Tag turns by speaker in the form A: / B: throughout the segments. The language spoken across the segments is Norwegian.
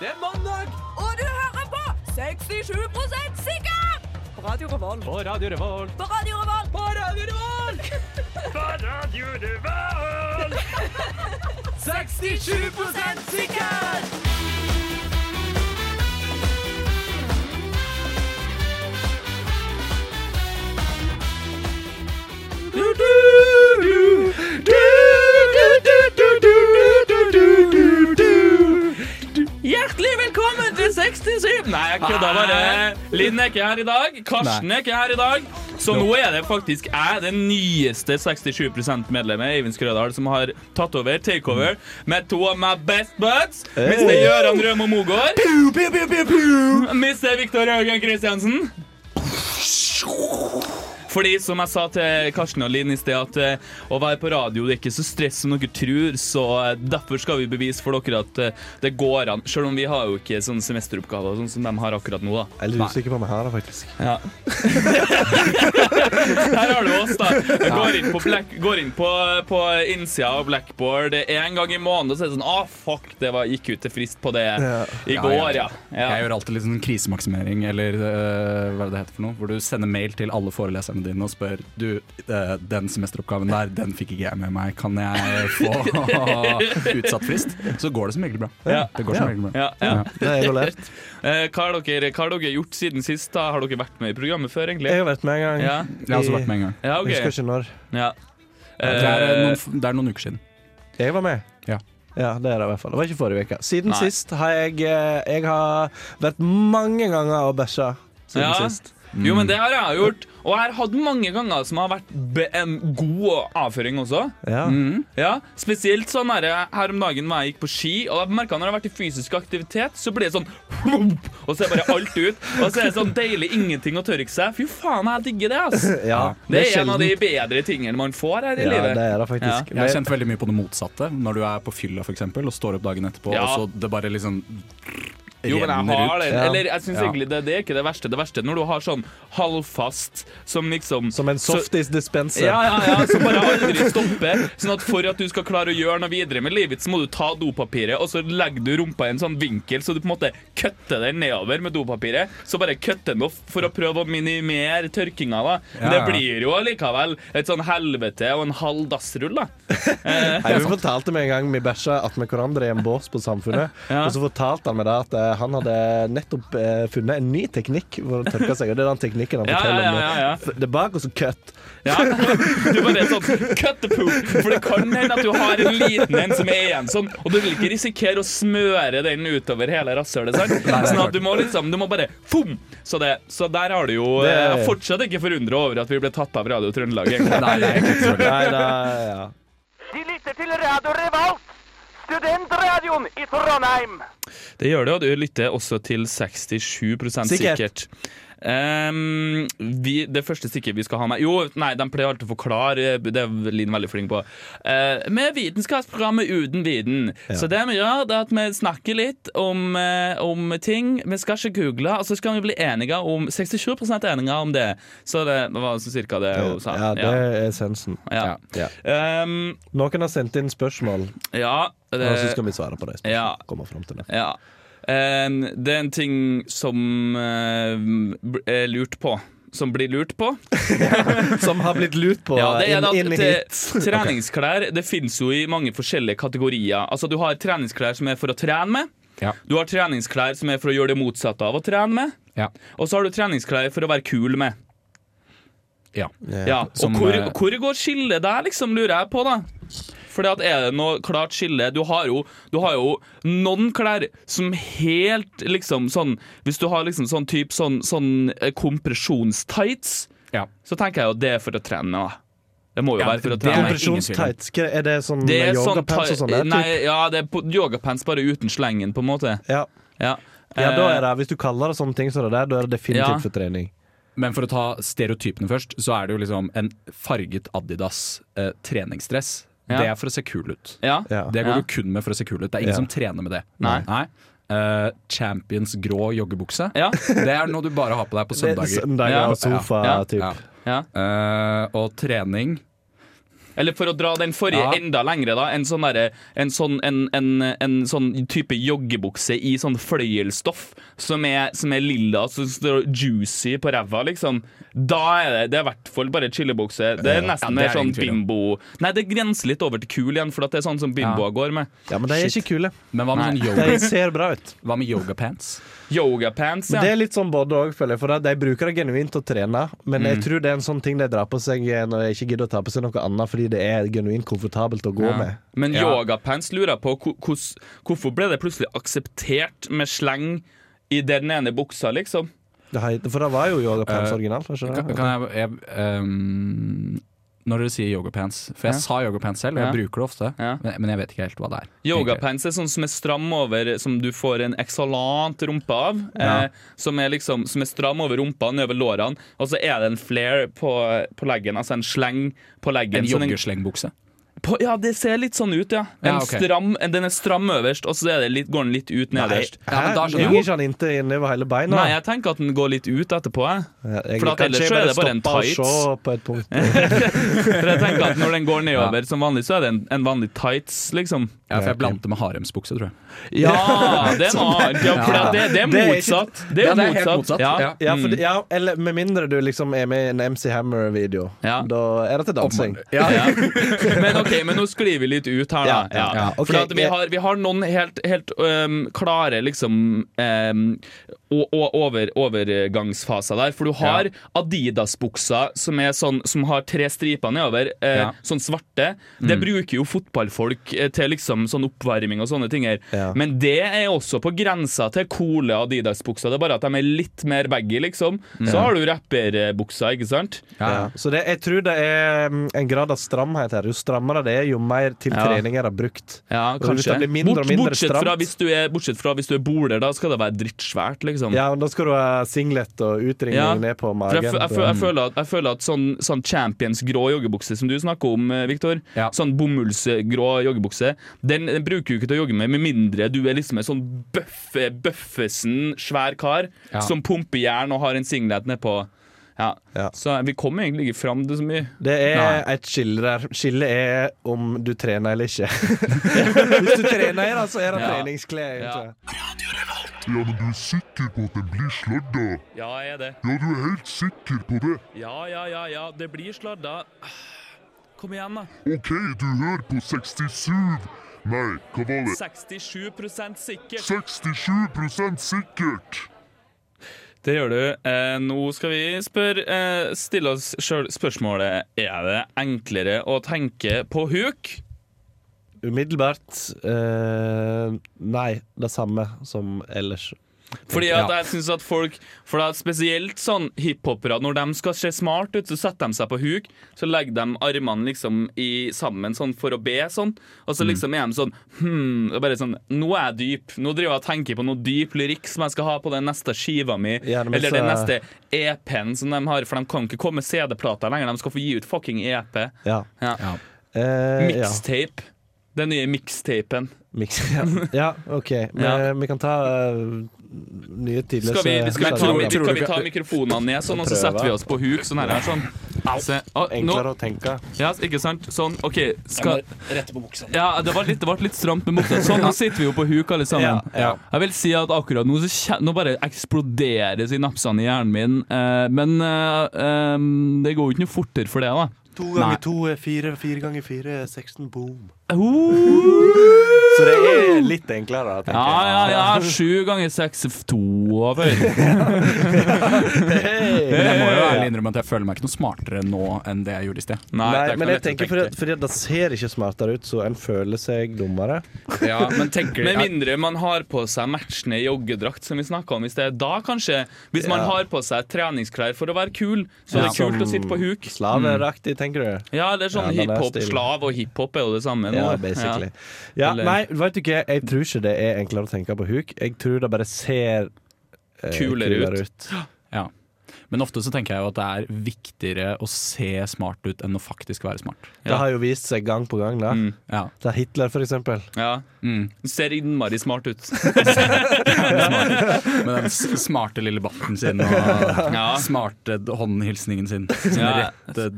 A: Det er mandag
B: Og du hører på 67 sikker! På Radio Revolt.
A: på Radio Revolt.
B: På Radio Revolt.
A: På Radio Revolt!
C: På Radio Revolt!
A: 67 sikker!
C: Hjertelig velkommen til 67! Nei, jeg kødda bare. Eh, Linn er ikke her i dag. Karsten er ikke her i dag. Så nå er det faktisk jeg, den nyeste 67 %-medlemmet, Eivind Skrødal, som har tatt over takeover med to av my best buds. Mr. Gøran Rømo Mogård. Mr. Viktor Haugen Kristiansen. Fordi som jeg sa til Karsten og Linn i sted, at eh, å være på radio det er ikke så stress som dere tror, så eh, derfor skal vi bevise for dere at eh, det går an. Selv om vi har jo ikke sånne semesteroppgaver sånn som de har akkurat nå, da.
D: Jeg er litt usikker på om jeg har det, faktisk.
C: Ja. Her har du oss, da. Går inn på, black, går inn på, på innsida av blackboard en gang i måneden og så er det sånn ah, fuck, det var, gikk ut til frist på det
D: Ja.
C: i
E: Ja,
C: går,
E: ja.
C: ja.
E: Jeg
C: ja.
E: gjør alltid litt sånn krisemaksimering, eller øh, hva er det det heter for noe, hvor du sender mail til alle foreleserne dine og spør du, øh, den semesteroppgaven der, den fikk ikke jeg med meg, kan jeg få utsatt frist? Så går det som regel bra.
C: Ja.
E: Det går som regel bra.
C: Ja, ja.
D: Det har jeg jo lært.
C: Eh, hva, har dere, hva har dere gjort siden sist? da? Har dere vært med i programmet før, egentlig?
D: Jeg har vært med en gang.
C: Ja,
E: Jeg har også vært med en gang.
C: ja
D: Jeg husker
C: ok.
D: ikke når.
C: Ja.
E: Det er, øh,
C: Eh,
E: noen, det er noen uker siden.
D: Jeg var med.
E: Ja.
D: Ja, det er det i hvert fall. Det var ikke forrige uke. Siden
C: Nei.
D: sist har jeg eh, Jeg har vært mange ganger og bæsja. Siden
C: Eh, Ja.
D: sist. Mm.
C: jo, men det har jeg gjort. Og jeg har hatt mange ganger som har vært be- en god avføring også.
D: Ja.
C: Ja, Spesielt sånn her, her om dagen da jeg gikk på ski. Og jeg merket når jeg har vært i fysisk aktivitet, så blir det sånn Og så er bare alt ut. Og så er det sånn deilig ingenting å tørke seg. Fy faen, jeg digger det, ass.
D: ja.
C: Det er en av de bedre tingene man får her i
D: ja,
C: livet.
D: det er det faktisk.
E: Jeg har kjent veldig mye på det motsatte, når du er på fylla for eksempel, og står opp dagen etterpå,
C: Ja.
E: og så det bare liksom
C: Jo, men jeg
E: renner
C: har
E: ut.
C: den.
D: Ja.
C: Eller jeg synes
E: Ja.
C: egentlig det, det er ikke det verste. Det verste er når du har sånn halvfast som liksom
D: Som en
C: så-
D: softis-dispenser.
C: Ja, ja, ja, som bare aldri stopper. Sånn at for at du skal klare å gjøre noe videre med livet, så må du ta dopapiret, og så legger du rumpa i en sånn vinkel, så du på en måte kutter den nedover med dopapiret. Så bare kutter den off for å prøve å minimere tørkinga, da. Men det
E: Ja, ja.
C: blir jo allikevel et sånn helvete og en halv dassrull, da.
D: Nei, vi fortalte meg en gang vi bæsja med hverandre i en bås på Samfunnet.
C: Ja.
D: Og så fortalte han meg da at eh, han hadde nettopp eh, funnet en ny teknikk for å tørke seg. Og det er den teknikken han
C: Ja, ja,
D: forteller om.
C: ja, ja, ja.
D: nå. Det er bak og så kutt.
C: Ja, du bare er sånn Cut the poop For det kan hende at du har en liten en som er igjen sånn Og du vil ikke risikere å smøre den utover hele rasshølet sant?
E: nei,
C: Sånn at
E: klart.
C: du må liksom Du må bare Fum Så, det, så der har du jo
D: Det-
C: eh, Fortsatt ikke forundret over at vi ble tatt av Radio Trøndelag egentlig.
E: Nei, nei, jeg kan ikke så veldig.
D: Nei, da, ja.
F: De lytter til Radio Revolt, studentradioen i Trondheim.
C: Det gjør det, og du lytter også til 67
D: Sikkert.
C: sikkert. Ehm, vi, det første stikket vi skal ha med Jo, nei, de pleier alltid å forklare. Det er Linn veldig flink på. Eh, med vitenskapsprogrammet Uten viten. Så det vi gjør, det er at vi snakker litt om, eh, om ting. Vi skal ikke google, og så skal vi bli enige om 67 enige om det. Så det var så cirka det hun sa.
D: ja, det er essensen.
C: Ja.
D: Ja.
C: Ehm,
D: Noen har sendt inn spørsmål,
C: ja, det,
D: og så skal vi svare på de
C: Ja.
D: spørsmålene. Kommer frem til det.
C: Ja. Em, det er en ting som eh, bl- er lurt på. Som blir lurt på.
D: Som har blitt lurt på
C: Ja, det er
D: inn,
C: at
D: inn
C: det-
D: hit.
C: Treningsklær det finnes jo i mange forskjellige kategorier. Altså Du har treningsklær som er for å trene med.
E: Ja.
C: Du har treningsklær som er for å gjøre det motsatte av å trene med.
E: Ja.
C: Og så har du treningsklær for å være kul med.
E: Ja.
C: Ja,
E: Som,
C: og hvor,
E: eh,
C: hvor går skillet der, liksom, lurer jeg på, da? Fordi at er det noe klart skille Du har jo, du har jo noen klær som helt liksom sånn Hvis du har liksom sånn type sånn, sånn eh, kompresjonstights,
E: Ja.
C: så tenker jeg jo det er for å trene, da. Det må jo
E: Ja,
C: være for å
E: det er
C: trene.
E: kompresjon-
D: Kompresjonstights, hva er det sånn
C: Det er sånn
D: yogapants og sånn?
C: ta-
D: det,
C: Nei,
D: typ?
C: ja, det er på- yogapants bare uten slengen, på en måte.
D: Ja.
C: Ja,
D: ja, da
C: Eh,
D: er det Hvis du kaller det sånne ting som det der, da er det definitivt
C: Ja.
D: for trening.
E: Men for å ta stereotypene først, så er det jo liksom en farget Adidas eh, treningsdress.
C: Ja.
E: Det er for å se kul ut.
C: Ja.
D: Ja.
E: Det går
C: Ja.
E: du kun med for å se kul ut. Det er ingen
D: Ja.
E: som trener med det.
C: Nei.
E: Eh, Champions grå joggebukse.
C: Ja.
E: Det er noe du bare har på deg på
D: Det er
E: søndager.
D: Søndager
C: Ja.
D: og sofa,
C: Ja.
D: typ.
E: Ja.
C: ja.
E: Eh, og trening
C: Eller for å dra den forrige
E: Ja.
C: enda lengre, da. En sånn, derre- en, sånn, en, en, en sånn type joggebukse i sånn fløyelsstoff som er, som er lilla, som står juicy på ræva, liksom. Da er det Det er i hvert fall bare chillebukse. Det er nesten
E: det er
C: mer sånn
E: ingen tvil om.
C: bimbo Nei, det grenser litt over til kul igjen, for at det er sånn som bimboer går med.
D: Ja, men de er ikke kule.
E: Men hva med, sånn
D: De
C: Oh.
E: yoga,
D: ser bra ut.
E: hva med yogapants?
C: Yogapants,
D: Men det
C: ja.
D: er litt sånn både og, føler jeg. For de bruker det genuint å trene, men
C: Mm.
D: jeg tror det er en sånn ting de drar på seg når de ikke gidder å ta på seg noe annet, fordi det er genuint komfortabelt å gå med.
C: Men
E: Ja.
C: yogapants lurer jeg på hvor- hvordan- hvorfor ble det plutselig akseptert med sleng i den ene buksa, liksom?
D: Det har, for det var jo yogapants
E: Eh,
D: originalt. skjønner
E: Kan,
D: du?
E: kan jeg, jeg ehm, Når dere sier yogapants For jeg
C: Ja.
E: sa yogapants selv, og jeg
C: Ja.
E: bruker det ofte.
C: Ja.
E: Men, men jeg vet ikke helt hva det er.
C: Yogapants er sånn som er stram over, som du får en eksalant rumpe av. Eh, som, er liksom, som er stram over rumpa nedover lårene, og så er det en flair på, på leggen. Altså en sleng på leggen.
E: En
C: så den-
E: joggeslengbukse.
C: på, ja, det ser litt sånn ut, ja. En
E: Ja, ok.
C: stram, en- den er stram øverst, og så er det litt, går den litt ut nederst.
E: Ja, men da
D: Hæ?
E: skjønner
D: Henger
E: jeg.
D: ikke han inntil innover hele beina?
C: Nei, jeg tenker at den går litt ut etterpå. Jeg.
D: Jeg
C: For at
D: kan
C: ellers
D: ikke
C: så er det bare en
D: stoppe og
C: tights.
D: se på et punkt.
C: For jeg tenker at når den går nedover som vanlig, så er det en, en vanlig tights, liksom.
E: Ja, for jeg blandet det med haremsbukse, tror jeg.
C: Ja, det er noe annet. Ja, for det, det er
D: Det er ikke-
C: motsatt. Det er,
E: Ja, det er helt
C: motsatt.
E: motsatt,
C: Ja.
E: ja.
D: Ja, for, det- ja, eller med mindre du liksom er med i en MC Hammer-video.
C: Ja.
D: Da er det til dansing.
C: Ja. Men ok, men nå sklir vi litt ut her, da.
D: Ja, ja, ja.
C: For at vi,
D: Ok,
C: har, vi har noen helt, helt øhm, klare liksom øhm, o- o- over, overgangsfaser der. For du har Adidas-buksa som, er sånn, som har tre striper nedover, eh,
E: Ja.
C: sånn svarte. Det
D: Mm.
C: bruker jo fotballfolk eh, til liksom sånn oppvarming og sånne ting. her
D: Ja.
C: Men det er også på grensa til coole Adidas-bukser. Det er bare at de er litt mer baggy, liksom.
D: Mm.
C: Så har du rapperbuksa, ikke sant?
D: Ja. Så det, jeg tror det er mm, en grad av stramhet her. Jo strammere det er, jo mer til
C: Ja.
D: trening er det brukt.
C: Ja,
D: Og hvis
C: kanskje.
D: det blir mindre og mindre
C: bortsett, fra
D: stramt.
C: hvis du er, bortsett fra hvis du er boler, da skal det være drittsvært, liksom.
D: Ja, men Da skal du ha singlet og utringning
C: Ja.
D: ned på
C: For
D: magen.
C: jeg, fø- jeg, fø- jeg, føler at, jeg føler at sånn, sånn Champions-grå joggebukse som du snakker om, eh, Victor,
E: Ja.
C: sånn bomullsgrå joggebukse, den, den bruker du ikke til å jogge med, med mindre du er liksom en sånn bøffe, bøffesen, svær kar
E: Ja.
C: som pumper jern og har en singlet nedpå. Ja.
D: Ja.
C: Så vi kommer egentlig ikke fram til så mye.
D: Det er
E: Nei.
D: et skille der. Skillet er om du trener eller ikke. Hvis du trener, da, så er det
C: Ja.
D: treningsklær. egentlig.
C: Ja.
G: Ja, men du er sikker på at den blir sladda?
C: Ja, jeg er det.
G: Ja, du er helt sikker på det?
C: Ja, ja, ja, ja. Det blir sladda. Kom igjen, da.
G: Ok, du hører på 67 Nei, hva var det?
C: 67 sikkert.
G: 67 sikkert!
C: Det gjør du. Eh, nå skal vi spørre, eh, stille oss sjøl spørsmålet Er det enklere å tenke på huk.
D: Umiddelbart eh, Nei, det samme som ellers.
C: Fordi at jeg synes at folk For det er spesielt sånn hiphopere Når de skal se smart ut, så setter de seg på huk Så legger de armene liksom i, sammen sånn for å be sånn Og
D: Mm.
C: så liksom er de sånn hmm, det er bare sånn, Nå er jeg dyp Nå driver jeg og tenker på noe dyp lyrikk som jeg skal ha på den neste skiva mi
D: Ja, men
C: Eller
D: så-
C: den neste EP-en som de har For de kan ikke komme CD-plater lenger De skal få gi ut fucking E EP ja.
D: Ja.
E: Ja.
D: Eh, ja.
C: Mixtape Den nye mixtapen
D: Mix, ja. ja, OK. Men
C: Ja.
D: vi kan ta eh, nye tidløse
C: Skal vi, skal vi, ta,
D: skjermer.
C: vi, kan vi ta mikrofonene ned sånn Og så setter vi oss på huk sånn her, her sånn Se, å, nå,
D: Enklere å tenke.
C: Ja, ikke sant? Sånn, ok skal... Rette på buksa Ja, det var litt, det ble litt stramt med buksa Sånn, nå sitter vi jo på huk alle sammen
E: ja.
C: Jeg vil si at akkurat nå så kjen- Nå bare eksploderer synapsene i hjernen min eh, Men eh, eh, det går jo ikke noe fortere for det da
H: To ganger to er fire, fire ganger fire er 16, boom.
D: Så det er litt enklere,
C: Ja,
D: da, tenker jeg.
C: ja, ja, sju ganger seks er f- To over
E: Men jeg må jo ærlig innrømme at jeg føler meg ikke noe smartere nå enn det jeg gjorde i sted.
D: Nei,
C: det er ikke
D: men
C: noe
D: jeg
C: lett å
D: tenker
C: tenke.
D: fordi, at- fordi at det ser ikke smartere ut, så en føler seg dummere.
E: Ja, men tenker
C: Med mindre man har på seg matchende joggedrakt, som vi snakket om i sted. Da kanskje. Hvis man
D: Ja.
C: har på seg treningsklær for å være kul, så er det
D: Ja.
C: kult å sitte på huk.
D: Slaveraktig, tenker du?
C: Ja, eller sånn
D: Ja, den er
C: hiphop.
D: stilig.
C: Slav og hiphop er jo det samme nå.
D: Ja,
C: da.
D: basically.
C: Ja.
D: Ja,
C: Eller-
D: nei, vet du ikke, jeg tror ikke det er enklere å tenke på huk. Jeg tror det bare ser eh,
C: Kulere ut.
E: Ja. Men ofte så tenker jeg jo at det er viktigere å se smart ut enn å faktisk være smart.
D: Det har jo vist seg gang på gang. da
C: Mm.
E: Ja.
D: Ta Hitler, for eksempel.
C: Ja. Du Ser innmari smart ut.
E: Med den s- smarte lille batten sin og
C: Ja.
E: smarte d- håndhilsningen sin. Som
C: Ja.
E: rett eh,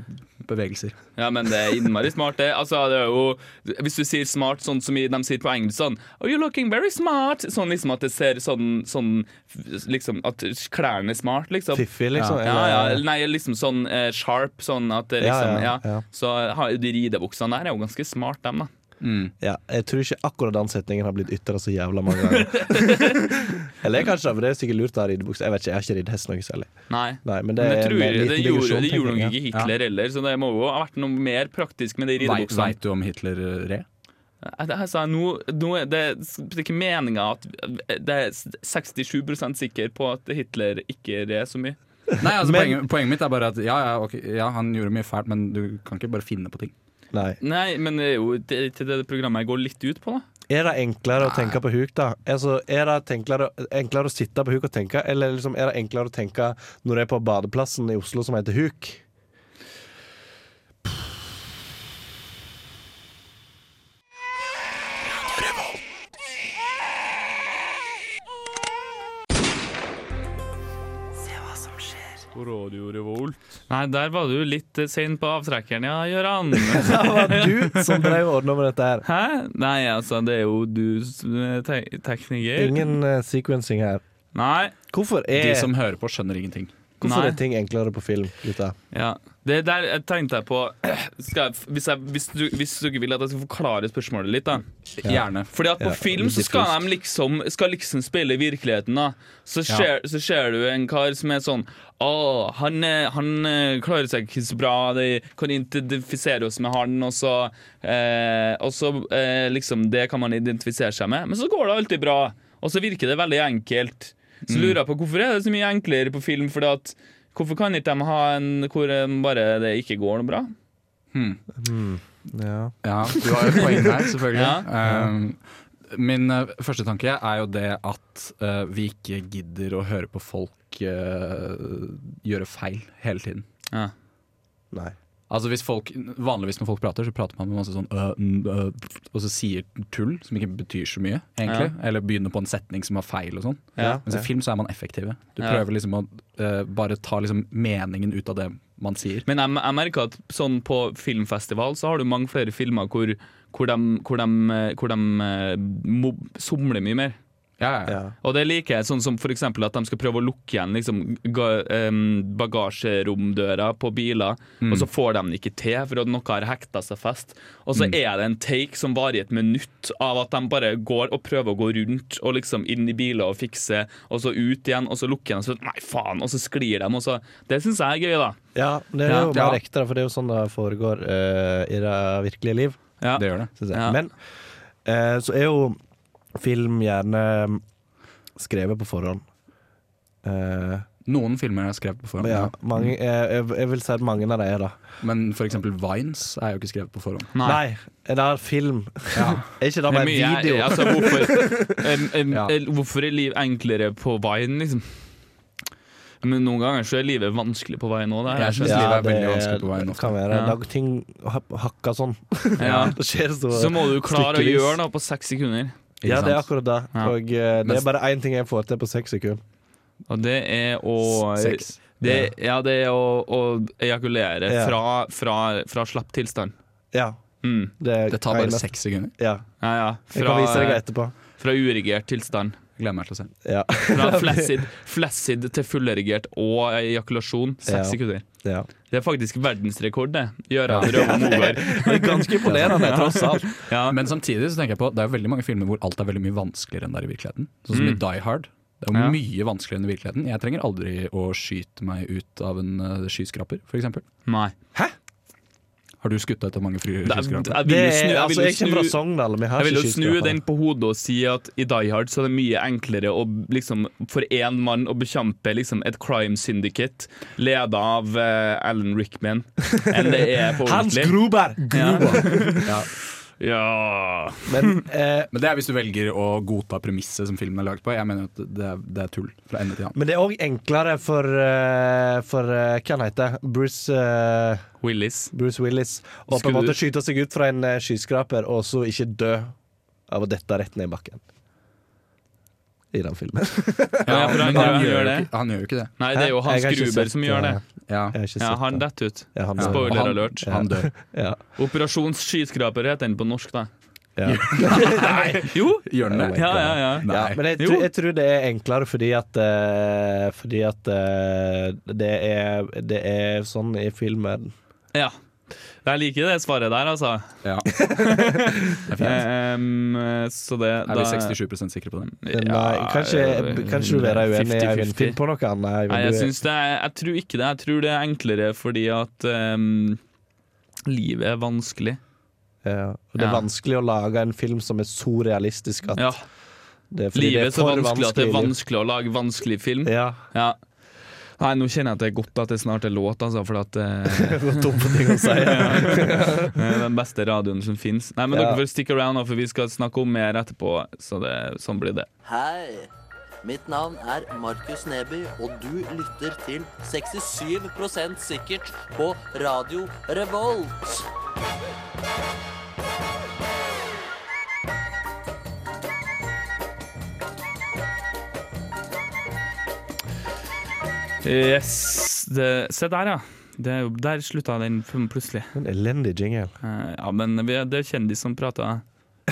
E: bevegelser.
C: Ja, men det er innmari smart, det. Altså, det er jo, hvis du sier smart sånn som i- de sier på engelsk sånn Oh, you're looking very smart. Sånn liksom at det ser sånn, sånn liksom, At klærne er smart, liksom.
D: Fiffig, liksom.
C: Ja, ja, eller nei, liksom sånn eh, sharp, sånn at det
D: Ja,
C: liksom
D: ja,
C: Ja.
D: ja.
C: Så har, de ridebuksene der er jo ganske smart, dem, da.
D: Ja, jeg tror ikke akkurat den setningen har blitt ytra så jævla mange ganger. Eller jeg kanskje, for det er sikkert lurt å ha ridebukse. Jeg vet ikke, jeg har ikke ridd hest noe særlig.
C: Nei.
D: Nei, men det,
C: Men jeg
D: er
C: tror
D: en liten
C: det gjorde,
D: digresjon,
C: det gjorde nok
D: tenker jeg.
C: ikke Hitler heller, så det må jo ha vært noe mer praktisk med de
E: Veit
C: ridebuksene.
E: veit du om Hitler re?
C: Jeg- jeg sa, nå, nå er det, det er ikke meninga at eh, Det er 67 sikker på at Hitler ikke red så mye.
E: Nei, altså,
D: Men-
E: poenget, poenget mitt er bare at ja, ja, ok, ja, han gjorde mye fælt, men du kan ikke bare finne på ting.
D: Nei.
C: Nei, men det er jo det, er ikke det programmet jeg går litt ut på, da.
D: Er det enklere å tenke på huk, da? Altså, er det enklere, enklere å sitte på huk og tenke, eller liksom, er det enklere å tenke når jeg er på badeplassen i Oslo som heter huk?
C: Nei, der var du litt eh, sein på avtrekkeren, ja, Gøran.
D: Det var du som drev og ordna med dette her.
C: Hæ? Nei, altså, det er jo du som er te tekniker.
D: Ingen eh, sequencing her.
C: Nei.
D: Hvorfor er,
E: De som hører på, skjønner ingenting.
D: hvorfor
C: Nei.
D: er ting enklere på film, gutta?
C: Ja. Det der jeg tenkte jeg på skal jeg, hvis, jeg, hvis, du, hvis du ikke vil at jeg skal forklare spørsmålet litt, da.
E: Gjerne.
C: Fordi at på
D: Ja,
C: film
D: litt
C: så skal
D: diffust.
C: de liksom Skal liksom spille virkeligheten, da. Så ser, så ser du en kar som er sånn Å, han, eh, han eh, klarer seg ikke så bra, de kan identifisere oss med han, og så eh, Og så eh, liksom Det kan man identifisere seg med, men så går det alltid bra. Og så virker det veldig enkelt.
D: Mm.
C: Så lurer jeg på hvorfor er det så mye enklere på film, fordi at Hvorfor kan ikke de ha en hvor eh, bare det ikke går noe bra?
D: Ja.
E: Ja, du har et poeng der, selvfølgelig.
C: Ja.
E: Ehm, min eh, første tanke er jo det at eh, vi ikke gidder å høre på folk eh, gjøre feil hele tiden.
C: Ja.
D: Nei.
E: Altså hvis folk, Vanligvis når folk prater, så prater man med masse sånn øh, mm, øh, Og så sier tull som ikke betyr så mye, egentlig. Eller begynner på en setning som har feil og sånn.
C: Ja.
E: Mens i film så er man effektive. Du
C: Ja.
E: prøver liksom å eh, bare ta liksom meningen ut av det man sier.
C: Men jeg, jeg merker at sånn på filmfestival så har du mange flere filmer hvor, hvor de, hvor de, eh, hvor de eh, mob- somler mye mer.
E: Ja, ja.
D: Ja.
C: Og det liker jeg, sånn som for eksempel at de skal prøve å lukke igjen liksom, ga- em, bagasjeromdøra på biler,
E: Mm.
C: og så får de den ikke til for at noe har hekta seg fast. Og
E: Mm.
C: så er det en take som varer i et minutt av at de bare går og prøver å gå rundt og liksom inn i biler og fikse, og så ut igjen, og så lukker de, og så nei faen, og så sklir de, og så Det syns jeg er gøy, da.
D: ja, det er
C: Ja.
D: jo
E: Ja.
D: mer ekte, da, for det er jo sånn det foregår eh, i det virkelige liv.
C: Ja.
E: Det gjør det.
D: synes jeg.
C: Ja.
D: Men eh, så er jo film gjerne mm, skrevet på forhånd. Eh,
E: Noen filmer er skrevet på forhånd,
D: men ja, mange, eh, jeg, jeg vil si at mange av de er det.
E: men f.eks. Vines er jo ikke skrevet på forhånd.
C: Nei.
D: Nei, det er film. er ikke det
C: Det er
D: bare
C: mye,
D: video?
C: altså, hvorfor, em, em,
E: Ja.
C: el- hvorfor er liv enklere på veien, liksom? Men noen ganger så er livet vanskelig på veien òg.
E: Jeg synes livet er veldig vanskelig på veien ofte.
D: kan være.
C: Ja.
D: Da ting ha- hakka sånn.
C: Ja.
D: det skjer så
C: Så må du klare å
D: stykkevis.
C: gjøre noe på seks sekunder.
E: Ikke
D: Ja, det er
E: sant?
D: akkurat det.
C: Ja.
D: Og eh, det
E: Men-
D: er bare én ting jeg får til på seks sekunder.
C: Og det er å
E: Sex.
C: Det, ja, det er å, å ejakulere
D: Ja.
C: fra, fra, fra slapp tilstand.
D: Ja.
C: Mm.
D: er
E: Det tar bare
D: eneste-
E: seks sekunder.
D: Ja.
C: Ja, ja.
D: Jeg kan vise deg
C: Fra,
D: etterpå.
C: fra uerigert tilstand.
E: Gleder meg til å se.
D: Ja.
C: Fra flaccid, flaccid til fullerigert og ejakulasjon. Seks
D: Ja.
C: sekunder.
D: ja.
C: Det er faktisk verdensrekord, det. Gøran Røve Mogård.
D: Ganske imponerende, tross alt.
C: Ja.
E: Men samtidig så tenker jeg på det er jo veldig mange filmer hvor alt er veldig mye vanskeligere enn det er i virkeligheten. Sånn som i Die Hard. Det er jo
C: Mm. Ja.
E: mye vanskeligere enn i virkeligheten. Jeg trenger aldri å skyte meg ut av en uh, skyskraper, f.eks.
C: Nei.
E: Har du skutt deg ut av mange fly-
C: Jeg vil jo
E: skyskrapere?
D: Det
C: snu,
D: er,
C: jeg vil
D: altså,
C: jo
D: jeg kommer fra
C: snu,
D: Sogndal, vi har
C: jeg vil jo
D: ikke
C: snu
D: skyskrapere.
C: den på hodet og si at i Die Hard så er det mye enklere å, liksom, for én mann å bekjempe liksom, et crime syndicate leda av eh, Alan Rickman enn det er på
D: Hans
C: ordentlig.
D: Gruber!
E: Ja.
C: Ja.
D: Men eh,
E: Men det er hvis du velger å godta premisset som filmen er laget på. Jeg mener jo at det er, det er tull fra ende til annen.
D: Men det er òg enklere for, eh, for eh, Hva han heter Bruce, eh,
C: Willis.
D: Bruce Willis å på en
C: Skulle du-
D: måte skyte seg ut fra en eh, skyskraper og så ikke dø av å dette rett ned i bakken. i den filmen.
C: Ja, for han-
E: men
C: han gjør
E: jo
C: det.
E: ikke- han gjør jo ikke det.
C: Nei, det er jo
D: Jeg
C: Hans
D: har ikke
C: Gruber
D: sett,
C: som gjør det.
D: eh,
E: Ja.
D: Jeg har ikke
C: Ja,
D: sett
C: han
D: det.
C: detter ut.
D: Ja, han dør.
C: Spoiler
E: Han-
C: alert.
E: Han dør.
D: Ja.
C: Operasjon skyskraper heter den på norsk, da.
D: Ja.
C: Jo!
E: Gjør den det?
C: Ja, ja, ja.
D: Ja,
E: Nei.
D: men jeg,
C: Jo.
D: tror- jeg tror det er enklere fordi at eh, Fordi at eh, det, er, det er sånn i filmen
C: ja. Jeg liker det svaret der, altså.
E: Ja.
C: Ehm, så det
E: Er vi 67 sikre på det?
C: Ja,
D: Nei, eh, kanskje, kanskje du vil være uenig,
C: 50-50.
D: Eivind. Finn på noe annet.
C: Nei,
D: Eivind.
C: jeg,
D: Du-
C: syns det er, jeg tror ikke det. Jeg tror det er enklere fordi at ehm, livet er vanskelig.
D: ja. Og det er
C: Ja.
D: vanskelig å lage en film som er så realistisk at
C: Ja,
D: det, fordi
C: Livet
D: det
C: er så vanskelig at det er vanskelig å lage vanskelig film.
D: Ja.
C: Ja. Nei, nå kjenner jeg at det er godt at det snart er låt, altså, for at eh,
D: Det er dumt for ting å si.
C: det er den beste radioen som fins. Nei, men
D: Ja.
C: dere får stick around, nå, for vi skal snakke om mer etterpå. Så det, sånn blir det.
I: Hei! Mitt navn er Markus Neby, og du lytter til 67 sikkert på Radio Revolt.
C: Yes. Det, se der, ja. Det, er jo- der slutta den plutselig.
D: En elendig jingle.
C: Eh, ja, men vi, det er kjendis som prater.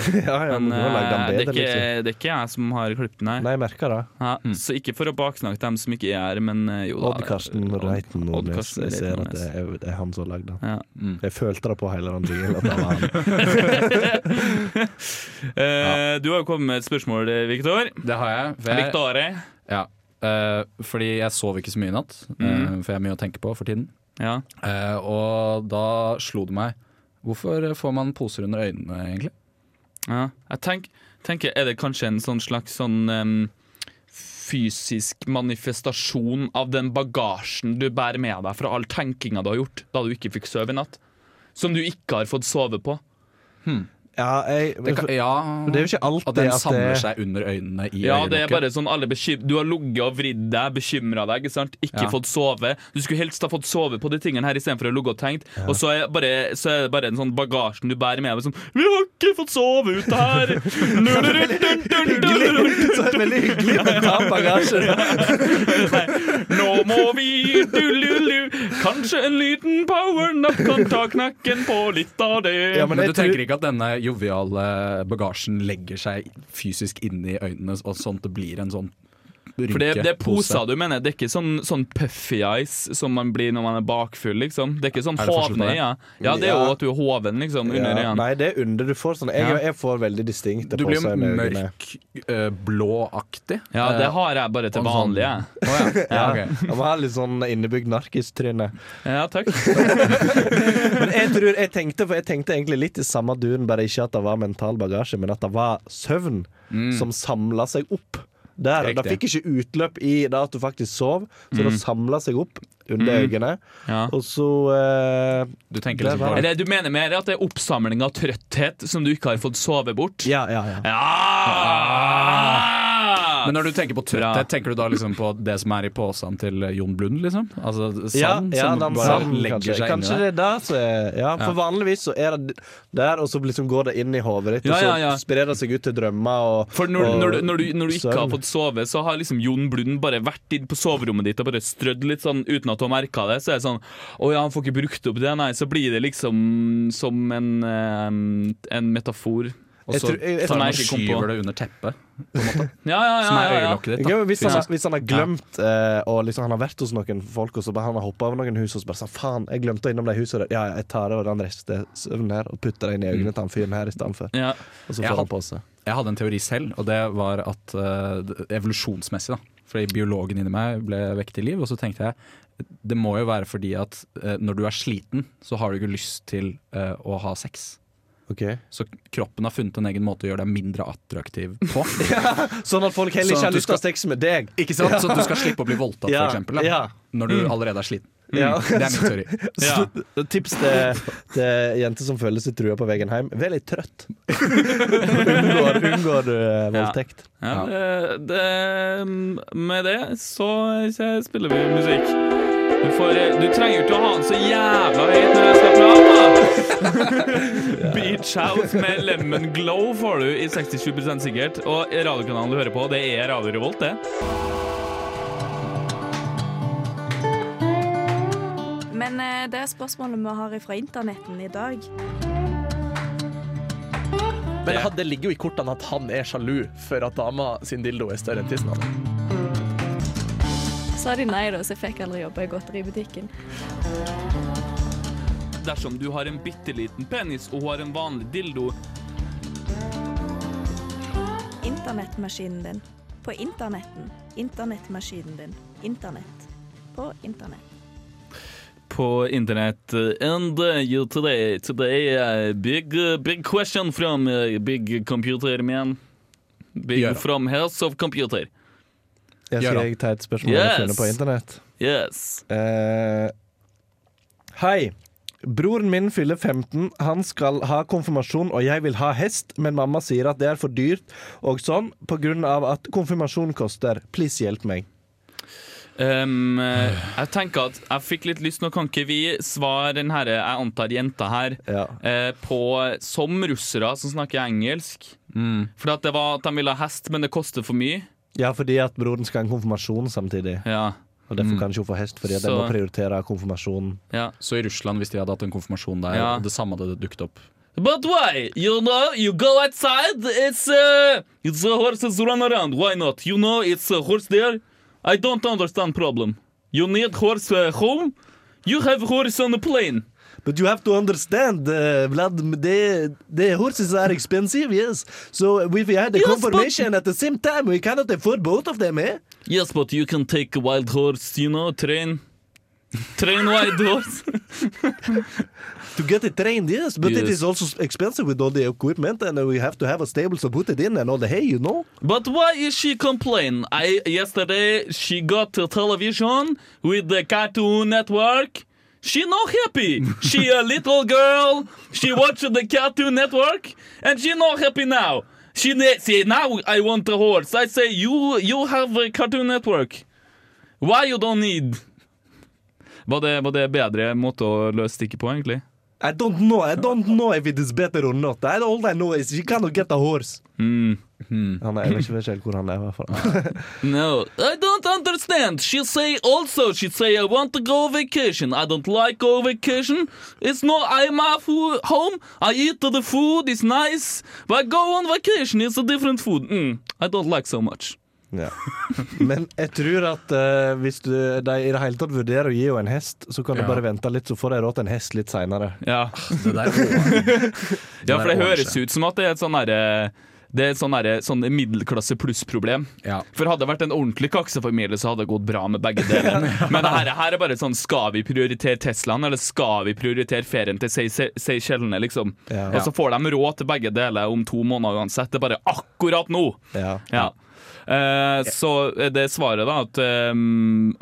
D: Ja, ja,
C: Men
D: men du har lagd den
C: eh, det, er
D: bedre,
C: ikke,
D: liksom.
C: det er ikke jeg som har klippet den her.
D: Nei, jeg merker det.
C: Ja, Så ikke for å baksnakke dem som ikke er her, men eh, jo da.
D: Odd Karsten
C: Odd-
D: Reiten
C: Odd
D: Nordnes.
C: Karsten
D: Jeg ser
C: Reiten
D: at det er, det er han som har lagd den.
C: Ja.
D: Jeg følte det på hele den jinglen. At det var han.
C: Eh, Du har jo kommet med et spørsmål, eh, Victor.
E: Det har jeg. for jeg-
C: Victore.
E: Ja. Eh, fordi jeg sov ikke så mye i natt, eh,
C: Mhm.
E: for jeg har mye å tenke på for tiden.
C: Ja.
E: Eh, og da slo det meg. Hvorfor får man poser under øynene, egentlig?
C: ja. Jeg tenk, tenker, er det kanskje en sånn slags sånn em, fysisk manifestasjon av den bagasjen du bærer med deg fra all tenkinga du har gjort da du ikke fikk sove i natt? Som du ikke har fått sove på?
D: Ja, jeg,
E: Det kan, ja
D: det er jo ikke alltid
E: At den
D: at
E: samler
D: det-
E: seg under øynene i
C: Ja, det er
E: øyelokket.
C: bare sånn alle bekym Du har ligget og vridd deg, bekymra deg, ikke sant? Ikke
E: Ja.
C: fått sove. Du skulle helst ha fått sove på de tingene her istedenfor å ligge og tenke. Og så er, bare, så er det bare en sånn bagasjen du bærer med deg sånn Vi har ikke fått sove ute her!
D: Så er det veldig hyggelig med tam bagasje.
C: Nå må vi du-lu-lu. Kanskje en liten powernap kan ta knekken på litt av det.
D: Ja,
E: Men,
D: men jeg
E: du tenker
D: tror-
E: ikke at denne joviale bagasjen legger seg fysisk inni øynene, og sånn at det blir en sånn rynkepose?
C: For det, det er poser du mener. Det er ikke sånn, sånn puffy eyes som man blir når man er bakfull, liksom. Det er ikke sånn
E: Er det forskjell på
C: hovne
E: det?
C: øyne. Ja, det er
D: Ja.
C: jo at du er hoven, liksom, under
D: Ja,
C: øynene.
D: nei, det er under du får sånn. Jeg,
C: Ja.
D: jeg får veldig distinkte
E: Du blir
D: poser med øynene.
E: mørk, eh, blåaktig.
C: Ja, det har jeg bare til
E: Eh, Og sånn-
C: vanlig, jeg.
E: Å ja. ja, ok.
D: Jeg må ha litt sånn innebygd narkistryne.
C: Ja, takk.
D: Men jeg tror, jeg tenkte, for jeg tenkte egentlig litt i samme dun, bare ikke at det var mental bagasje, men at det var søvn
C: Mm.
D: som samla seg opp. Der, Det
E: Riktig.
D: fikk ikke utløp i det at du faktisk sov, så det
C: Mm.
D: samla seg opp under øynene.
C: Ja.
D: Og så eh,
E: Du tenker
D: Det
E: liksom
D: var-
E: bare
C: Eller Mm. du mener mer at det er oppsamling av trøtthet som du ikke har fått sove bort?
D: Ja, ja, ja.
C: Ja!
E: Men når du tenker på
C: Bra.
E: trøtthet, tenker du da liksom på det som er i posen til Jon Blund, liksom? Altså sand
D: ja,
E: som
D: den
E: bare
D: sanden,
E: legger
D: kanskje.
E: seg
D: Kanskje
E: inni
D: det
E: deg?
D: er der som er Ja, for vanligvis så er det der, og så liksom går det inn i hodet ditt,
C: Ja, ja, ja.
D: og så sprer det seg ut til drømmer og
C: For når,
D: og
C: når, du, når, du, når du ikke har
D: søvn.
C: fått sove, så har liksom Jon Blund bare vært inn på soverommet ditt og bare strødd litt sånn uten at du har merka det. Så er det sånn Å ja, han får ikke brukt opp det. Nei, så blir det liksom som en, eh, en metafor.
E: Og så
D: Jeg tror- jeg-
E: tar
D: jeg-
C: Som
E: han
C: jeg
E: og
C: ikke kom på.
E: skyver det under teppet,
C: Ja, ja, ja.
E: som er
C: ja, ja.
E: øyelokket ditt.
D: Ja, men
E: Da.
D: hvis, han,
E: Fysisk.
D: hvis han har glemt eh, Og liksom han har vært hos noen folk Og så bare han har hoppet over noen hus Og så bare sa Faen, jeg glemte å innom det huset der. Ja, ja, jeg tar det og den resten søvnen her Og putter det inn i øynene til han fyren her i stedet for
C: Ja.
D: Og så
E: Mm. Jeg
D: får
E: hadde-
D: han på seg
E: Jeg hadde en teori selv, og det var at eh, evolusjonsmessig, da. Fordi biologen inni meg ble vekket til liv, og så tenkte jeg det må jo være fordi at eh, når du er sliten, så har du ikke lyst til eh, å ha sex.
D: Ok
E: Så kroppen har funnet en egen måte å gjøre deg mindre attraktiv på.
D: Sånn at folk heller
E: Sånn at
D: ikke har
E: du
D: lyst til å ha sex med deg
E: Ikke sant? Så du skal slippe å bli voldtatt,
D: Ja,
E: for eksempel, da,
D: ja.
E: når du allerede er sliten. Mm.
D: Ja.
E: Det er min teori.
C: Ja.
D: Så Tips til, til jenter som føler seg trua på veien hjem Vær litt trøtt Unngår, unngår du eh, voldtekt
C: ja. Det, det, med det så spiller vi musikk. Du, får, du trenger jo ikke å ha den så jævla høyt når jeg skal prate! da. Beat Chows med Lemon Glow får du i 67 sikkert. Og radiokanalen du hører på, det er Radio Revolt, det.
B: Men eh, det er spørsmålet vi har fra internetten i dag.
J: Men han- det ligger jo i kortene at han er sjalu for at dama sin dildo er større enn tissen hans.
B: Sa de nei, da, så jeg fikk aldri jobbe i godteributikken.
C: Dersom du har en bitte liten penis og har en vanlig dildo
B: Internettmaskinen din. På internetten. Internettmaskinen din. Internett. På internett.
C: på internett And uh, you today, today uh, big, uh, big question from uh, big computer man. Big
E: Gjør det.
C: from house of computer.
D: Jeg
E: Gjør
D: skal
E: det.
D: jeg ta et spørsmål jeg har funnet på
C: Yes.
D: internett.
C: Yes.
D: Eh, hei. Broren min fyller 15. Han skal ha konfirmasjon, og jeg vil ha hest, men mamma sier at det er for dyrt og sånn på grunn av at konfirmasjon koster. Please hjelp meg.
C: Um, eh, jeg tenker at jeg fikk litt lyst Nå kan ikke vi svare den herre, jeg antar jenta her,
D: Ja.
C: eh, på som russere som snakker engelsk. For at det var at de ville ha hest, men det koster for mye.
D: ja, fordi at broren skal ha en konfirmasjon samtidig,
C: Ja,
D: og derfor kan ikke hun få hest, fordi at de må
C: Mm. Så-
D: prioritere konfirmasjonen.
C: ja.
E: Så i Russland, hvis de hadde hatt en konfirmasjon der,
C: Ja.
E: og det samme hadde dukket opp
C: But why? You know, you go outside, it's uh, it's uh, horses run around. Why not? You know, it's a horse there. I don't understand problem. You need horse uh, home. You have horse on the plane.
D: But you have to understand, uh, Vlad, the, the horses are expensive, yes. So if we had a
C: Yes, but-
D: confirmation at the same time, we cannot afford both of them, eh?
C: Yes, but you can take a wild horse, you know, train. Train wild horse.
D: To get it trained, yes, but it
C: Yes.
D: is also expensive with all the equipment, and we have to have a stable to put it in and all the hay, you know?
C: But why is she complain? I yesterday she got a television with the Cartoon Network. She not happy. She a little girl. She watched the Cartoon Network and she not happy now. She ne- say now I want a horse. I say you you have a Cartoon Network. Why you don't need? Var det, var det bedre måte å løse stikket på, egentlig?
D: I don't know. I don't know if it is better or not. I, all I know is you cannot get a horse.
C: Hmm.
D: Han er, jeg vet ikke- vet ikke helt hvor han er, i hvert fall.
C: No, I don't understand. She say also she say I want to go vacation. I don't like go vacation. It's no I'm off ho- home. I eat the food. It's nice. But go on vacation. It's a different food. Mm, I don't like so much.
D: Ja. Men jeg tror at eh, hvis du, de i det hele tatt vurderer å gi henne en hest, så kan du
E: Ja.
D: bare vente litt, så får de råd til en hest litt seinere.
C: Ja,
E: Det der var-
C: ja for det
E: er
C: høres ut som at det er et sånn derre det er et sånn, derre- sånn middelklasse pluss-problem.
E: Ja.
C: For hadde det vært en ordentlig kaksefamilie, så hadde det gått bra med begge deler. Men det her, her er bare sånn Skal vi prioritere Teslaen, eller skal vi prioritere ferien til Sey- Sey- Seychellene, liksom?
D: Ja.
C: Og så får de råd til begge deler om to måneder uansett. Det er bare akkurat nå!
D: Ja.
C: Ja. Eh, så det er svaret, da, at, eh,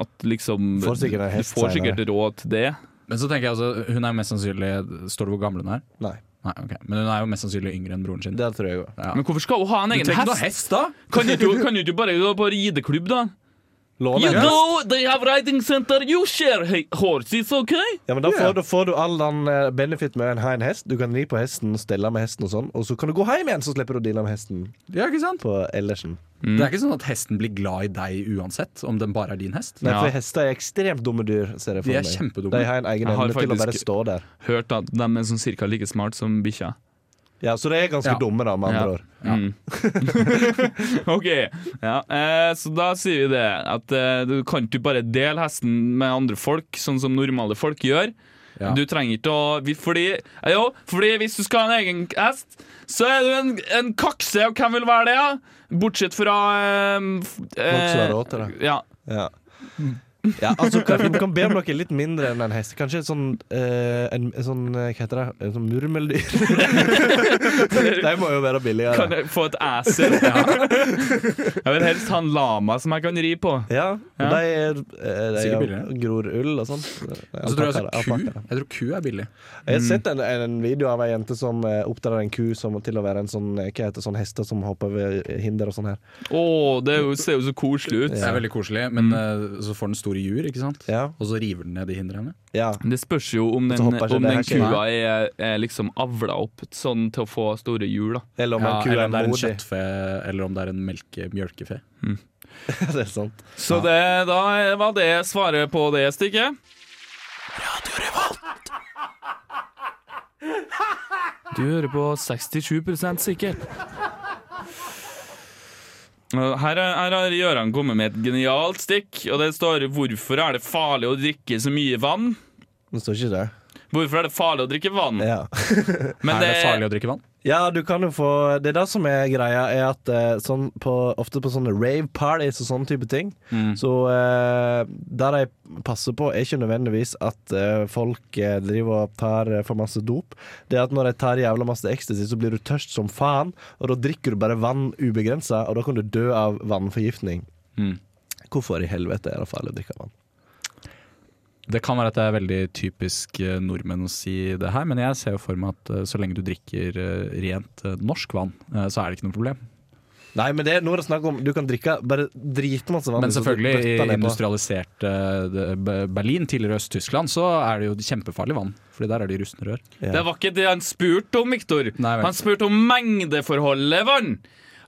C: at liksom
D: Får sikkert en
C: Du
D: hest
C: får sikkert råd til det.
E: Men så tenker jeg altså, hun er mest sannsynlig Står det hvor gammel hun er?
D: Nei,
E: Nei, ok Men hun er jo mest sannsynlig yngre enn broren sin.
D: det tror jeg òg.
E: Ja.
C: Men hvorfor skal hun ha en
E: Du
C: egen
E: trenger ikke
C: hest?
E: noe hest, da!
C: Kan du ikke- kan du ikke bare gå på rideklubb, da? You know, they have riding center, you share he- horses, okay?
D: Ja, men da får, da får du all den eh, benefit med å ha en hest. Du kan ri på hesten, stelle med hesten og sånn, og så kan du gå hjem igjen, så slipper du å deale med hesten
E: Ja, ikke sant?
D: på Ellersen.
E: Det er ikke sånn at hesten blir glad i deg uansett, om den bare er din hest.
D: Nei,
C: Ja.
D: for hester er ekstremt dumme dyr, ser jeg for
E: De er
D: meg.
E: kjempedumme.
D: De har en egen
C: Jeg har
D: evne til å bare
C: faktisk-
D: stå der.
C: Hørt at de er sånn cirka like smart som bikkja.
D: Ja, Så de er ganske
E: Ja.
D: dumme, da, med andre
C: Ja.
D: ord.
C: Mm. OK. Ja, eh, så da sier vi det. At eh, du kan ikke bare dele hesten med andre folk, sånn som normale folk gjør.
E: Ja.
C: Du trenger ikke å vi- fordi, eh, jo, fordi hvis du skal ha en egen hest, så er du en, en kakse, og hvem vil være det? Ja? Bortsett fra eh, f-
D: som har
C: eh,
D: råd til det.
C: Ja.
D: Ja. Ja, altså, kan, du kan be om noe litt mindre enn en hest. Kanskje en sånn, eh, en, en sånn eh, Hva heter det? En sånn murmeldyr? de må jo
C: Kan
D: være billigere.
C: jeg få et æsel? Jeg vil helst ha en lama som jeg kan ri på.
D: Ja, og
C: Ja.
D: De, er, eh, de
E: Sikkert
D: er,
E: billigere.
D: gror ull og sånn.
E: Og så tror jeg altså ku Jeg tror ku er billig.
D: Jeg har sett en, en video av ei jente som eh, oppdrar en ku som, til å være en sånn eh, Hva heter sånn hester som hopper over hinder og sånn her.
C: Å, det er jo- ser jo så koselig ut.
E: Det er veldig koselig, men eh, så får den stor store jur, ikke sant?
D: Ja.
E: og så river den ned de hindrene.
D: ja.
C: Det spørs jo om den,
D: så hopper ikke
C: om
D: det
C: den
D: her, skjønner
C: kua er, er liksom avla opp sånn til å få store hjul. da.
D: Eller om
E: Ja,
D: en ku
E: eller
D: er
E: om det er en
D: modig.
E: kjøttfe, eller om det er en melke, mjølkefe.
D: det er sant.
C: Så det, da var det svaret på det stykket. Du hører på 67 sikker. Og Her, er- her har Gøran kommet med et genialt stikk, og det står 'Hvorfor er det farlig å drikke så mye vann?'
D: Det står ikke det.
C: Hvorfor er det farlig å drikke vann?
D: Ja.
C: Men
E: er det farlig å drikke vann?
D: Ja, du kan jo få Det er det som er greia, er at eh, sånn på, ofte på sånne rave parties og sånne type ting,
E: Mm.
D: så eh, det de passer på, er ikke nødvendigvis at eh, folk eh, driver og tar eh, for masse dop. Det er at når de tar jævla masse ecstasy, så blir du tørst som faen, og da drikker du bare vann ubegrensa, og da kan du dø av vannforgiftning.
E: Mm.
D: Hvorfor i helvete er det farlig å drikke vann?
E: Det kan være at det er veldig typisk eh, nordmenn å si det her, men jeg ser jo for meg at eh, så lenge du drikker eh, rent eh, norsk vann, eh, så er det ikke noe problem.
D: Nei, men det er noe det er snakk om. Du kan drikke bare dritmasse vann.
E: Men
D: så du
E: selvfølgelig,
D: bøtter
E: i
D: ned på.
E: industrialisert eh, det- Be- Berlin, tidligere Øst-Tyskland, så er det jo kjempefarlig vann. Fordi der er det rustne rør.
C: Det var ikke det han spurte om, Viktor.
E: Nei vel.
C: Han spurte om mengdeforholdet vann.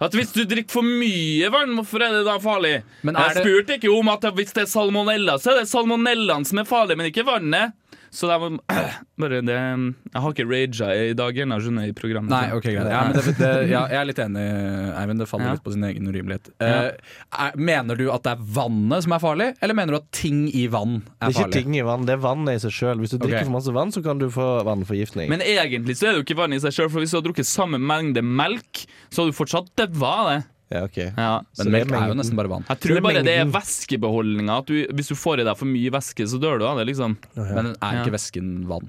C: At hvis du drikker for mye vann, hvorfor er det da farlig?
E: Men er
C: Jeg
E: det-
C: spurte ikke om at hvis det er salmonella, så er det salmonellaen som er farlig, men ikke vannet. Så det var bare det Jeg har ikke raga i dag ennå, skjønner jeg, i programmet.
E: Nei, ok, greit. Ja, men det, det, ja, jeg er litt enig, Eivind. Det faller
C: Ja.
E: litt på sin egen urimelighet. Eh, er, mener du at det er vannet som er farlig, eller mener du at ting i vann er
D: Det er ikke
E: farlig?
D: ting i vann, det er vannet i seg sjøl. Hvis du drikker for masse vann, så kan du få vannforgiftning.
C: Men egentlig så er det jo ikke vann i seg sjøl, for hvis du har drukket samme mengde melk, så har du fortsatt daua av det.
D: ja, ok.
C: Ja.
E: Men
D: Så det er
E: melk er jo
D: mengden.
E: nesten bare vann.
C: Jeg
D: Så
C: tror
D: det er
C: bare det er
D: mengden.
C: væskebeholdninga. At du, hvis du får i deg for mye væske, så dør du av det, liksom.
E: Men er
C: Ja.
E: ikke væsken vann?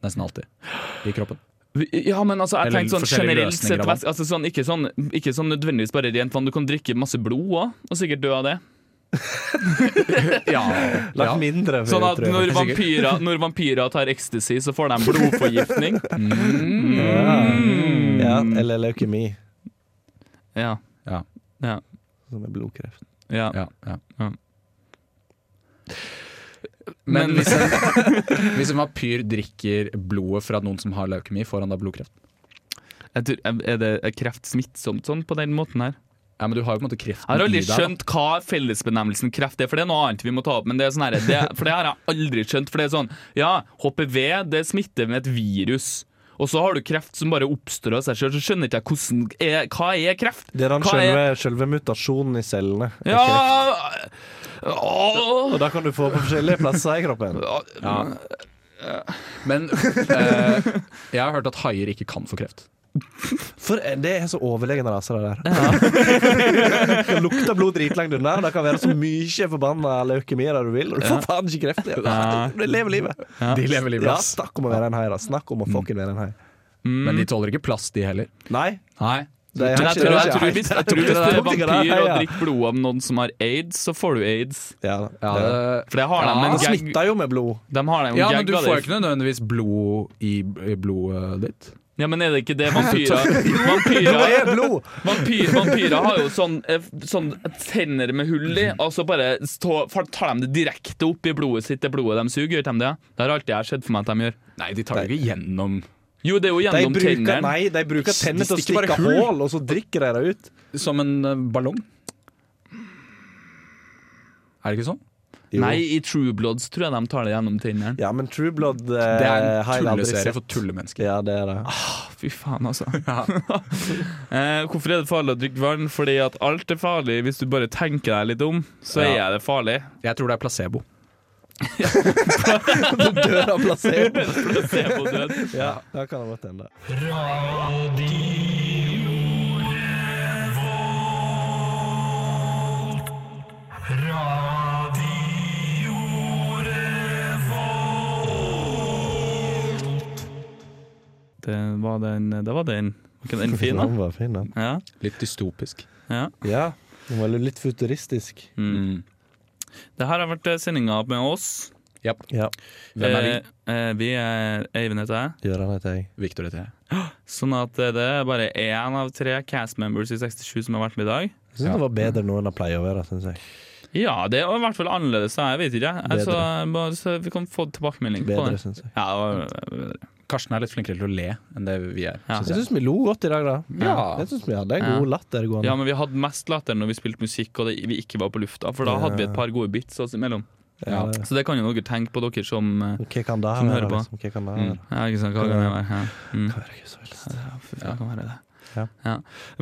E: Nesten alltid. I kroppen.
C: Ja, men altså, jeg
E: Eller
C: tenkte sånn
E: forskjellige
C: generelt
E: løsninger
C: sett
E: av vann.
C: væske- altså, sånn, ikke, sånn, ikke sånn nødvendigvis bare rent vann. Du kan drikke masse blod òg, og sikkert dø av det.
E: Ja,
D: Lagt
E: ja.
D: mindre for,
C: Sånn at
D: tror jeg.
C: når vampyrer, når vampyrer tar ecstasy, så får de blodforgiftning. Mm.
D: Ja, eller leukemi,
C: Ja.
E: Ja.
C: Ja.
D: som er blodkreft.
C: ja.
E: Ja, ja.
C: Ja.
E: Men
C: Men-
E: hvis en, hvis en vampyr drikker blodet fra noen som har leukemi, får han da blodkreft?
C: Jeg tror, er det er kreft smittsomt sånn på den måten her?
E: Ja, men du har jo på en måte kreften
C: Jeg har aldri
E: i deg. da.
C: skjønt hva fellesbenevnelsen kreft er, for det er noe annet vi må ta opp. Men det er sånn her, det, for det har jeg aldri skjønt. For det er sånn, ja, HPV det smitter med et virus. Og så har du kreft som bare oppstår av seg sjøl. Så skjønner ikke jeg hvordan er, Hva er kreft?
D: Det er den
C: Hva
D: selve, selve mutasjonen i cellene. er
C: Ja
D: kreft.
C: Åh.
D: Og da kan du få på forskjellige plasser i kroppen.
E: Men eh, jeg har hørt at haier ikke kan få kreft.
D: For eh, det er så overlegne raser, det der. det lukter blod dritlangt unna. og Det kan være så mye forbanna leukemi der du vil, og du får faen ikke kreft. Det er- Du lever livet.
E: De lever livet,
D: Ja,
E: ass.
D: snakk om å være en hai, da. Snakk om å fucking være en hai.
E: Men de tåler ikke plast, de heller.
D: Nei.
E: Mm. Nei.
D: Det er
C: Men jeg tror, jeg tror,
D: helt-
C: hvis, jeg tror hvis du er
D: det er
C: vampyr og
D: ja.
C: drikker blod av noen som har aids, så får du aids.
D: Ja, da.
E: Ja,
D: det,
C: For det har de
E: Ja,
C: en
D: Han
C: gag.
D: smitter jo med blod.
C: De har de en
E: ja, men
C: gag av
E: du får jo
C: det.
E: ikke nødvendigvis blod i, i blodet ditt.
C: Ja, men er det ikke det vampyrer Vampyrer
D: Det er blod!
C: Vampyr, vampyrer har jo sånn, eh, sånn tenner med hull i, og så bare stå, for- tar de det direkte opp i blodet sitt, det blodet de suger. Gjør de det? Det har alltid jeg sett for meg at de gjør.
E: Nei, de tar det ikke gjennom
C: Jo, det er jo
D: De
C: gjennom
D: bruker,
C: tennene.
D: nei, de bruker tennene til å
E: stikker bare
D: stikke
E: hull.
D: hull, og så drikker de det ut.
E: Som en eh, ballong. Er det ikke sånn?
D: Jo.
C: Nei, i True Bloods tror jeg de tar det gjennom tennene.
D: Ja, men True Blood eh,
E: Det er
D: har jeg
E: en
D: aldri
E: tulleserie
D: sett.
E: for tullemennesker.
D: Ja, det er det.
C: Fy faen, altså.
E: Ja.
C: Eh, hvorfor er det farlig å drikke vann? Fordi at alt er farlig hvis du bare tenker deg litt om, så
E: Ja.
C: er det farlig.
E: Jeg tror det er placebo.
D: Døra plassert.
C: Se på død.
D: Ja, da kan det godt hende.
C: Det var den. Det var den. Var ikke den fin, da?
D: Den var fin, den.
C: Ja.
E: Litt dystopisk.
C: ja.
D: Ja, den var litt futuristisk.
C: Mm. Det her har vært sendinga med oss.
D: Ja.
E: Hvem er vi?
C: Eh, eh, vi er Eivind heter jeg.
D: Gøran heter jeg.
E: Victor heter jeg.
C: Sånn at eh, det er bare én av tre cast members i 67 som har vært med i dag.
D: Jeg syns det var bedre nå enn det pleier å være. Synes jeg
C: Ja, det var i hvert fall annerledes. da. Jeg vet ikke. Altså,
D: Bedre.
C: bare, så vi kan få tilbakemelding på
D: Bedre,
C: det.
D: syns jeg.
C: Ja, det var bedre.
E: Karsten er litt flinkere til å le enn det vi er.
C: Ja.
E: synes
D: Jeg
E: jeg.
D: syns vi lo godt i dag, da.
E: Ja.
D: Jeg syns vi hadde en god latter gående.
C: ja, men vi hadde mest latter når vi spilte musikk og det, vi ikke var på lufta, for da hadde vi et par gode bits oss imellom.
D: Ja.
C: Så det kan jo dere tenke på, dere som eh,
D: Hva kan det
C: Som
D: være?
C: hører på.
D: Liksom? Hva kan det
C: mm,
D: være?
C: Ja, ikke sant, hva kan det være? Ja. Mm.
D: Herregud,
C: Ja, fy faen, det kan være det.
D: Ja.
C: Ja.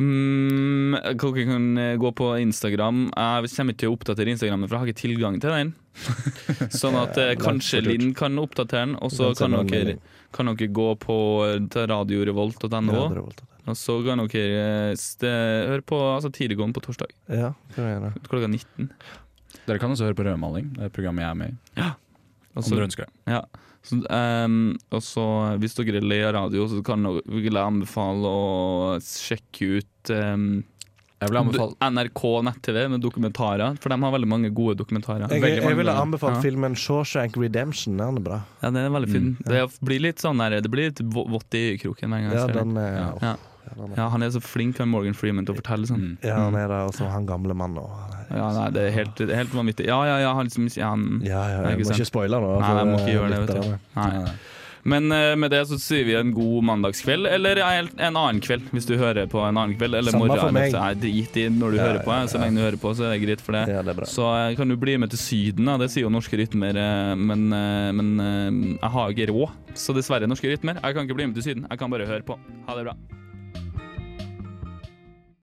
C: Mm, dere kan eh, gå på Instagram. Jeg kommer ikke til å oppdatere Instagrammen, for jeg har ikke tilgang til den. Sånn at eh, kanskje
D: for lurt.
C: Linn kan oppdatere den, og så
D: Den
C: kan
D: sender en
C: dere,
D: melding.
C: kan dere gå på eh, til radiorevolt.no,
D: Ja, det er voldtatt.
C: og så kan dere eh, ste- høre på altså, Tidegående på torsdag
D: Ja, hva kan vi gjøre?
C: klokka 19.
E: Dere kan også høre på Rødmaling, det er programmet jeg er med i.
C: Og
E: Om
C: så,
E: dere ønsker det.
C: ja. så, ehm, og så hvis dere ler av radio, så kan dere- vil jeg anbefale å sjekke ut ehm,
E: Jeg vil anbefale
C: Du- NRK nett-TV med dokumentarer, for de har veldig mange gode dokumentarer.
D: Jeg,
C: Veldig
D: jeg,
C: mange
D: ville
C: bra.
D: anbefalt
C: ja.
D: filmen Shawshank Redemption. Den er bra.
C: Ja, den er veldig
E: Mm,
C: fin. Det blir litt sånn der, det blir litt vå- vått i øyekroken hver gang jeg
D: Ja,
C: ser den.
D: den er,
E: Ja.
C: Ja. Ja, han er så flink, han Morgan Freeman, til å fortelle
E: Mm.
C: sånn.
D: ja, han er der, og så han gamle mannen òg.
C: Ja, nei, det er helt, det er helt vanvittig. Ja, ja, ja, han liksom ja, han,
D: Ja, ja,
C: Nei,
D: jeg
C: ikke
D: må
C: sant.
D: ikke spoile nå.
C: Nei,
D: for,
C: jeg må
D: eh,
C: ikke gjøre det, vet du.
D: lytterne.
C: Nei. Men eh, med det så sier vi en god mandagskveld, eller en en annen kveld, hvis du hører på en annen kveld. Eller
D: Samme
C: morgen,
D: for
C: eller-
D: meg.
C: Nei, drit i når du hører på, så lenge du hører på, så er det greit for det.
D: Ja, det er bra.
C: Så eh, kan du bli med til Syden, da. det sier jo norske rytmer, eh, men, eh, men eh, jeg har jo ikke råd. Så dessverre, norske rytmer. Jeg kan ikke bli med til Syden, jeg kan bare høre på. Ha det bra.